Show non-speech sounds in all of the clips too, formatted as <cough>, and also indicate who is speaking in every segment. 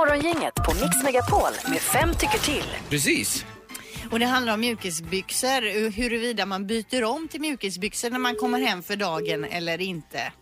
Speaker 1: Morgongänget på Mix Megapol med fem tycker till.
Speaker 2: Precis.
Speaker 3: Och det handlar om mjukisbyxor, huruvida man byter om till mjukisbyxor när man kommer hem för dagen eller inte.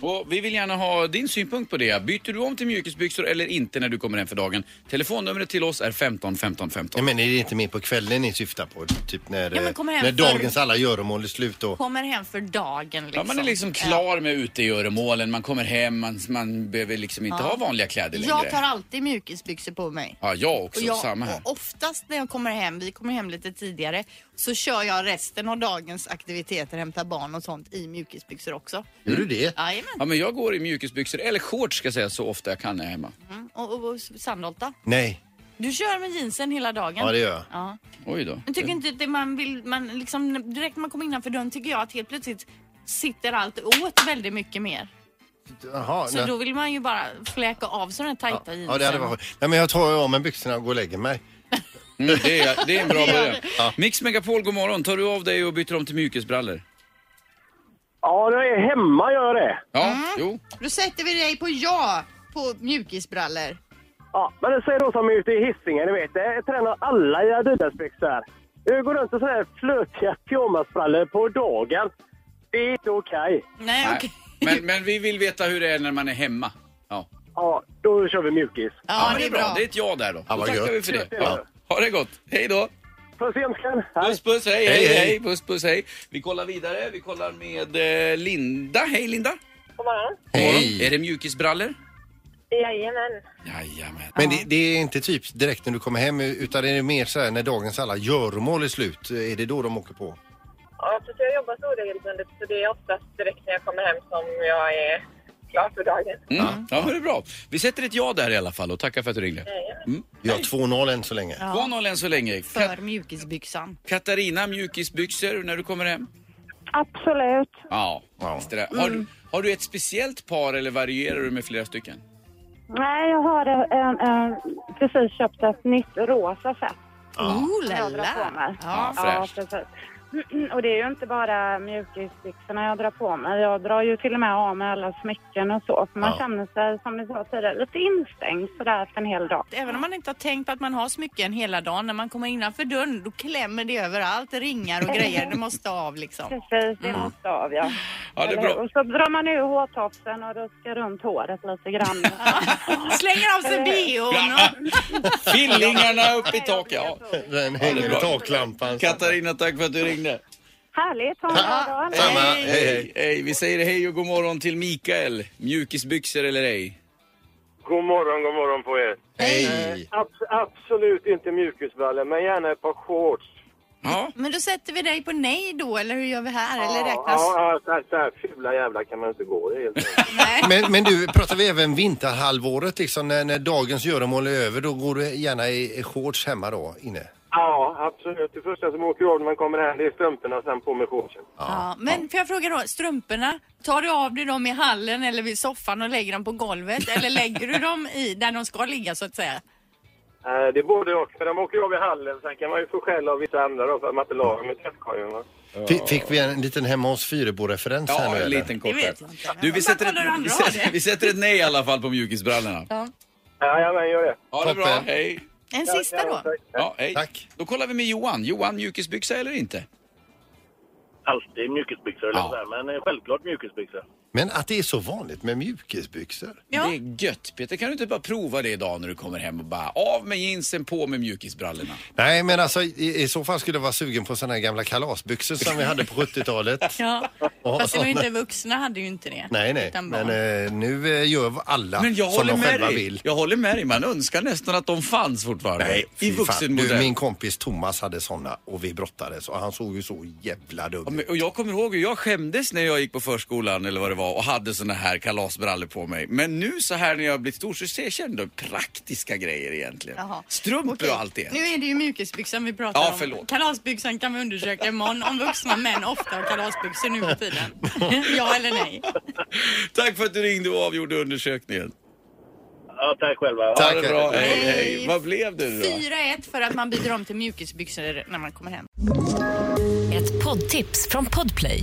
Speaker 2: Och vi vill gärna ha din synpunkt på det. Byter du om till mjukisbyxor eller inte när du kommer hem för dagen? Telefonnumret till oss är 15 15
Speaker 4: Ja,
Speaker 2: 15.
Speaker 4: men är det inte mer på kvällen ni syftar på? Typ när,
Speaker 3: Ja,
Speaker 4: eh,
Speaker 3: men kommer hem
Speaker 4: när
Speaker 3: förr.
Speaker 4: dagens alla göromål är slut då?
Speaker 3: Kommer hem för dagen liksom.
Speaker 2: Ja, man är liksom klar med utegöromålen, man kommer hem, man, man behöver liksom inte
Speaker 3: Ja.
Speaker 2: ha vanliga kläder längre.
Speaker 3: Jag tar alltid mjukisbyxor på mig.
Speaker 2: Ja, jag också.
Speaker 3: Och jag,
Speaker 2: samma här.
Speaker 3: och oftast när jag kommer hem, vi kommer hem lite tidigare, så kör jag resten av dagens aktiviteter, hämta barn och sånt i mjukisbyxor också.
Speaker 4: Gör du det?
Speaker 3: Jajamän.
Speaker 2: Ja, men jag går i mjukisbyxor, eller shorts ska jag säga, så ofta jag kan när jag är hemma.
Speaker 3: Mm. Och, och, och Sandholta,
Speaker 4: Nej.
Speaker 3: du kör med jeansen hela dagen?
Speaker 4: Ja, det gör jag.
Speaker 3: Ja.
Speaker 2: Oj då.
Speaker 3: Men tycker inte att det man vill, man liksom, direkt när man kommer innanför dörren tycker jag att helt plötsligt sitter allt åt väldigt mycket mer.
Speaker 4: Jaha,
Speaker 3: Så
Speaker 4: nej.
Speaker 3: då vill man ju bara fläka av sådana här tajta jeansen.
Speaker 4: Ja, det hade varit skönt. Nej, men jag tar ju av mig byxorna och går och lägger mig.
Speaker 2: Mm, det, är, det är en
Speaker 3: <laughs>
Speaker 2: bra början. Mix Megapol, god morgon. Tar du av dig och byter om till mjukisbrallor?
Speaker 5: Ja, det är hemma gör jag det.
Speaker 2: Ja,
Speaker 3: Mm.
Speaker 2: jo.
Speaker 3: Då sätter vi dig på ja på mjukisbrallor.
Speaker 5: Ja, men det säger de som är ute i Hisingen, ni vet. Jag tränar alla i Adidasbyxor. Jag går runt i sådana här flötiga pyjamasbrallor på dagen. Det är inte okej.
Speaker 3: Nej,
Speaker 2: Nej.
Speaker 3: okej.
Speaker 2: Men, men vi vill veta hur det är när man är hemma. Ja,
Speaker 5: Ja, då kör vi mjukis.
Speaker 3: Ja, det är bra.
Speaker 2: Det är ett ja där då.
Speaker 4: Ja,
Speaker 2: då
Speaker 4: vad
Speaker 2: tackar
Speaker 4: gött.
Speaker 2: vi för det.
Speaker 5: Ja.
Speaker 2: Ja. Ha det gott. Hej då.
Speaker 5: Puss igen, Skan.
Speaker 2: Puss, puss, hej, hej, hej,
Speaker 4: Hej, hej.
Speaker 2: Puss, puss, hej. Vi kollar vidare. Vi kollar med eh, Linda. Hej, Linda. Är det mjukisbrallor?
Speaker 6: Jajamän.
Speaker 2: Jajamän.
Speaker 4: Men det, det är inte typ direkt när du kommer hem utan det är mer så här när dagens alla göromål är slut. Är det då de åker på?
Speaker 6: Ja, för jag jobbar så regelbundet så det är oftast direkt när jag kommer hem som jag är klar för dagen.
Speaker 2: Mm. Ja, men det är bra. Vi sätter ett ja där i alla fall och tackar för att du ringde.
Speaker 4: Vi har 2-0 än så länge.
Speaker 2: 2-0 än så länge.
Speaker 3: För mjukisbyxan.
Speaker 2: Katarina, mjukisbyxor när du kommer hem?
Speaker 6: Absolut.
Speaker 2: Ja,
Speaker 4: Ja.
Speaker 2: visst är det. Har, du, har du ett speciellt par eller varierar du med flera stycken?
Speaker 6: Nej, jag har en, en, precis köpt ett nytt rosa set.
Speaker 3: Oh la
Speaker 6: Jag drar på
Speaker 3: la.
Speaker 6: mig.
Speaker 3: Ja.
Speaker 6: Ja,
Speaker 2: fräscht.
Speaker 6: precis. <clears throat> Och det är ju inte bara mjukisbyxorna jag drar på mig. Jag drar ju till och med av mig alla smycken och så. För man
Speaker 4: Ja.
Speaker 6: känner sig, som ni sa tidigare, lite instängd sådär för en hel dag.
Speaker 3: Även om man inte har tänkt på att man har smycken hela dagen, när man kommer innanför dörren då klämmer det överallt, ringar och grejer. Det måste av
Speaker 6: <laughs>
Speaker 3: liksom.
Speaker 6: Precis, det måste av ja.
Speaker 2: Mm. Ja, det är
Speaker 6: Eller hur?
Speaker 2: bra.
Speaker 6: Och så drar man ur hårtofsen och ruskar runt håret
Speaker 2: <laughs>
Speaker 6: lite grann.
Speaker 3: Slänger av sig bhn och...
Speaker 2: Fillingarna upp i taket. Ja.
Speaker 4: Den
Speaker 2: Ja, det är
Speaker 4: hänger
Speaker 2: bra.
Speaker 4: i taklampan.
Speaker 2: Katarina, tack för att du ringde.
Speaker 6: Härligt, ha en bra dag.
Speaker 4: Samma. Hej, hej.
Speaker 2: hej. Vi säger hej och god morgon till Mikael. Mjukisbyxor eller ej?
Speaker 5: God morgon, god morgon på er. Eh,
Speaker 4: Hej!
Speaker 5: absolut inte mjukisbrallor, men gärna ett par shorts.
Speaker 2: Ja.
Speaker 3: Men då sätter vi dig på nej då, eller hur gör vi här? Eller räknas...
Speaker 5: Ja, ja, så här fula jävla kan man inte gå i
Speaker 3: <laughs>
Speaker 5: helt enkelt.
Speaker 3: Nej.
Speaker 4: Men, men du, pratar vi även vinterhalvåret liksom när, när dagens göromål är över då går du gärna i, i shorts hemma då inne?
Speaker 5: Ja, absolut. Det första som åker av när man kommer hem det är strumporna och sen på med shortsen.
Speaker 3: Ja, men får jag fråga då, strumporna, tar du av dig dem i hallen eller vid soffan och lägger dem på golvet
Speaker 2: <laughs>
Speaker 3: eller lägger du dem i där de ska ligga så att säga?
Speaker 5: Eh, Det är både och, för de åker av i hallen. Sen kan man ju få skäll av vissa andra då för att man inte la dem i tvättkorgen. va.
Speaker 4: Fi- Fick vi en liten hemma hos Fyrebo-referens här
Speaker 2: Ja,
Speaker 4: nu
Speaker 2: en
Speaker 4: eller?
Speaker 2: liten kort
Speaker 3: Det vet
Speaker 2: där.
Speaker 3: jag inte.
Speaker 2: Du, vi
Speaker 3: Bara
Speaker 2: sätter,
Speaker 3: kolla hur
Speaker 2: ett,
Speaker 3: han
Speaker 2: vi,
Speaker 3: drar
Speaker 2: sätter,
Speaker 3: det.
Speaker 2: vi sätter ett nej i alla fall på mjukisbrallorna.
Speaker 5: Jajamän, gör det.
Speaker 2: Ha det bra,
Speaker 4: Toppen.
Speaker 2: hej.
Speaker 3: En sista då.
Speaker 2: Ja, hej.
Speaker 4: Tack.
Speaker 2: Då kollar vi med Johan. Johan, mjukisbyxa eller inte?
Speaker 5: Alltid mjukisbyxor,
Speaker 2: eller Ja. sådär,
Speaker 5: men eh, självklart mjukisbyxor.
Speaker 4: Men att det är så vanligt med mjukisbyxor.
Speaker 3: Ja.
Speaker 2: Det är gött. Peter, kan du inte bara prova det idag när du kommer hem och bara av med jeansen, på med mjukisbrallorna?
Speaker 4: Nej, men alltså i, i så fall skulle jag vara sugen på sådana här gamla kalasbyxor som vi hade
Speaker 2: <laughs>
Speaker 4: på 70-talet.
Speaker 3: Ja.
Speaker 4: Ja,
Speaker 3: Fast det var ju
Speaker 4: såna.
Speaker 3: inte vuxna hade ju inte det.
Speaker 4: Nej, nej.
Speaker 3: Utan barn.
Speaker 4: Men eh, nu eh, gör alla
Speaker 2: Men jag
Speaker 4: som
Speaker 2: håller
Speaker 4: de
Speaker 2: med
Speaker 4: själva
Speaker 2: dig.
Speaker 4: vill.
Speaker 2: Jag håller med dig. Man önskar nästan att de fanns fortfarande. I
Speaker 4: fy fan. Du,
Speaker 2: vuxenmodell.
Speaker 4: min kompis Thomas hade såna och vi brottades och han såg ju så jävla
Speaker 2: Ja,
Speaker 4: dum
Speaker 2: men-
Speaker 4: ut.
Speaker 2: Och jag kommer ihåg hur jag skämdes när jag gick på förskolan eller vad det var och hade såna här kalasbrallor på mig. Men nu så här när jag har blivit stor så ser jag känner praktiska grejer egentligen.
Speaker 3: Jaha.
Speaker 2: Strumpor och allt det.
Speaker 3: Nu är det ju mjukisbyxan vi pratar
Speaker 2: Ja,
Speaker 3: om.
Speaker 2: förlåt.
Speaker 3: Kalasbyxan kan vi undersöka imorgon om vuxna män ofta har kalasbyxor nu för tiden.
Speaker 2: <laughs>
Speaker 3: ja eller nej?
Speaker 2: Tack för att du ringde och avgjorde undersökningen.
Speaker 5: Ja, tack själva.
Speaker 2: Ha
Speaker 4: Tack.
Speaker 2: det bra. Hej,
Speaker 3: Hej.
Speaker 2: hej. Vad blev det då?
Speaker 3: 4-1 för att man byter om till mjukisbyxor när man kommer hem.
Speaker 1: Ett poddtips från Podplay.